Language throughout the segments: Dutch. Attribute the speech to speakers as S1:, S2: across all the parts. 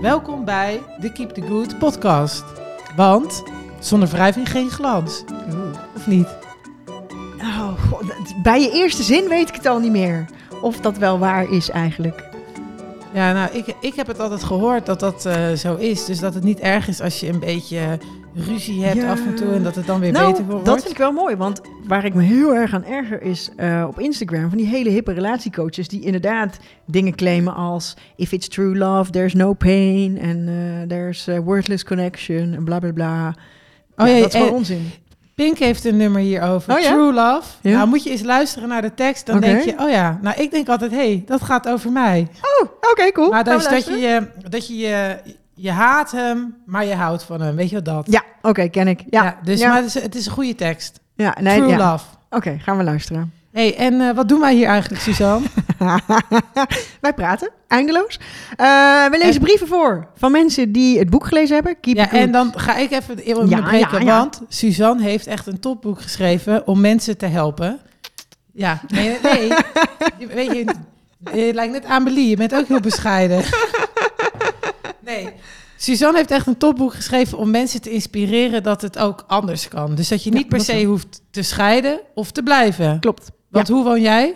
S1: Welkom bij de Keep the Good podcast. Want zonder wrijving geen glans. Of niet?
S2: Oh, god, dat- bij je eerste zin weet ik het al niet meer. Of dat wel waar is eigenlijk.
S1: Ja, nou, ik, ik heb het altijd gehoord dat dat eh, zo is. Dus dat het niet erg is als je een beetje ruzie hebt
S2: Ja.
S1: af en toe en dat het dan weer
S2: nou,
S1: beter wordt.
S2: dat vind ik wel mooi. Want waar ik me heel erg aan erger is eh, op Instagram... van die hele hippe relatiecoaches die inderdaad dingen claimen als... if it's true love, there's no pain... en eh, there's a worthless connection en bla bla bla.
S1: Oh
S2: Ja,
S1: ja,
S2: dat is
S1: eh,
S2: gewoon onzin.
S1: Pink heeft een nummer hierover,
S2: Oh ja?
S1: True Love.
S2: Ja.
S1: Nou, moet je eens luisteren naar de tekst, dan
S2: Oké.
S1: denk je, oh ja. Nou, ik denk altijd, hé, hey, dat gaat over mij.
S2: Oh, oké, cool.
S1: maar
S2: Gaan
S1: dat
S2: we
S1: is dat je,
S2: luisteren?
S1: je, dat je, je, je haat hem, maar je houdt van hem. Weet je wat dat?
S2: Ja, oké, ken ik. Ja, ja,
S1: dus
S2: ja,
S1: Maar het, is, het is een goede tekst.
S2: nee,
S1: True
S2: ja.
S1: Love.
S2: Oké, gaan we luisteren.
S1: hey, en eh, wat doen wij hier eigenlijk, Suzanne?
S2: Wij praten, eindeloos. Eh, we lezen
S1: En-
S2: brieven voor van mensen die het boek gelezen hebben. Keep
S1: ja,
S2: it good.
S1: en dan ga ik even in
S2: Ja,
S1: breken,
S2: ja, ja.
S1: want Suzanne heeft echt een topboek geschreven om mensen te helpen. Ja, nee, nee. Je- Weet je, je lijkt net Amelie, je bent ook heel bescheiden. Nee. Suzanne heeft echt een topboek geschreven om mensen te inspireren dat het ook anders kan. Dus dat je
S2: Ja,
S1: niet per
S2: dat
S1: se
S2: wel.
S1: hoeft te scheiden of te blijven.
S2: Klopt.
S1: Want hoe woon jij?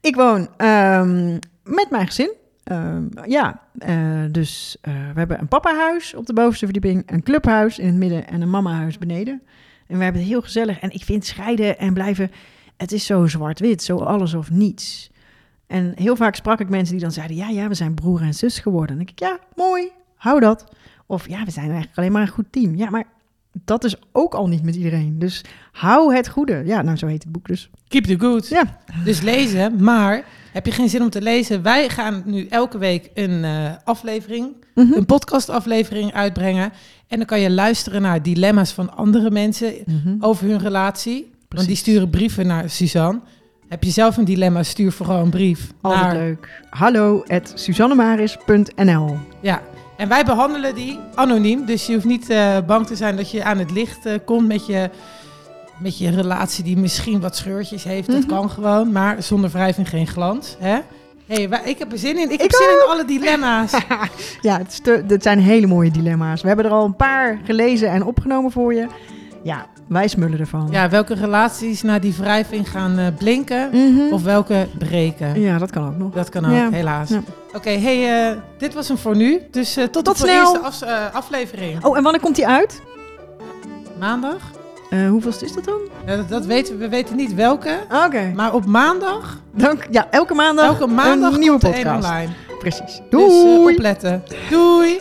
S2: Ik woon ehm, met mijn gezin. Ehm, ja, eh, dus eh, we hebben een papahuis op de bovenste verdieping, een clubhuis in het midden en een mamahuis beneden. En we hebben het heel gezellig. En ik vind scheiden en blijven, het is zo zwart-wit, zo alles of niets. En heel vaak sprak ik mensen die dan zeiden, ja, ja, we zijn broer en zus geworden. En ik, ja, mooi, hou dat. Of ja, we zijn eigenlijk alleen maar een goed team. Ja, maar dat is ook al niet met iedereen. Dus hou het goede. Ja, nou, zo heet het boek dus.
S1: Keep the good.
S2: Ja.
S1: Dus lezen, maar heb je geen zin om te lezen? Wij gaan nu elke week een eh, aflevering,
S2: Mhm.
S1: een podcastaflevering uitbrengen. En dan kan je luisteren naar dilemma's van andere mensen
S2: Mhm.
S1: over hun relatie. Want die
S2: Precies.
S1: sturen brieven naar Suzanne. Heb je zelf een dilemma, stuur vooral een brief.
S2: Altijd
S1: naar-
S2: leuk. Hallo at suzannemaris.nl
S1: Ja. En wij behandelen die anoniem, dus je hoeft niet eh, bang te zijn dat je aan het licht eh, komt met je, met je relatie die misschien wat scheurtjes heeft.
S2: Mhm.
S1: Dat kan gewoon, maar zonder wrijving geen glans. Hè? Hey, wij- ik heb er zin in. Ik, heb
S2: Ik
S1: zin in alle dilemma's.
S2: Ja, het, is te- het zijn hele mooie dilemma's. We hebben er al een paar gelezen en opgenomen voor je. Ja, wij smullen ervan.
S1: ja, welke relaties na die wrijving gaan eh, blinken
S2: Mhm.
S1: of welke breken?
S2: ja dat kan ook nog.
S1: Dat kan ook,
S2: Ja.
S1: helaas.
S2: Ja.
S1: Oké, hey, eh, dit was hem voor nu. Dus eh, tot,
S2: Tot
S1: de voor-
S2: snel.
S1: eerste afs- eh, aflevering.
S2: Oh, en wanneer komt die uit?
S1: Maandag?
S2: Eh hoeveelste is dat dan?
S1: Ja, dat, dat weten we. We weten niet welke.
S2: Oké.
S1: Maar op maandag
S2: Dank. Ja, elke maandag,
S1: Elke maandag
S2: een nieuwe
S1: komt er één
S2: podcast.
S1: online.
S2: Precies.
S1: Dus eh,
S2: Doei.
S1: opletten. Doei.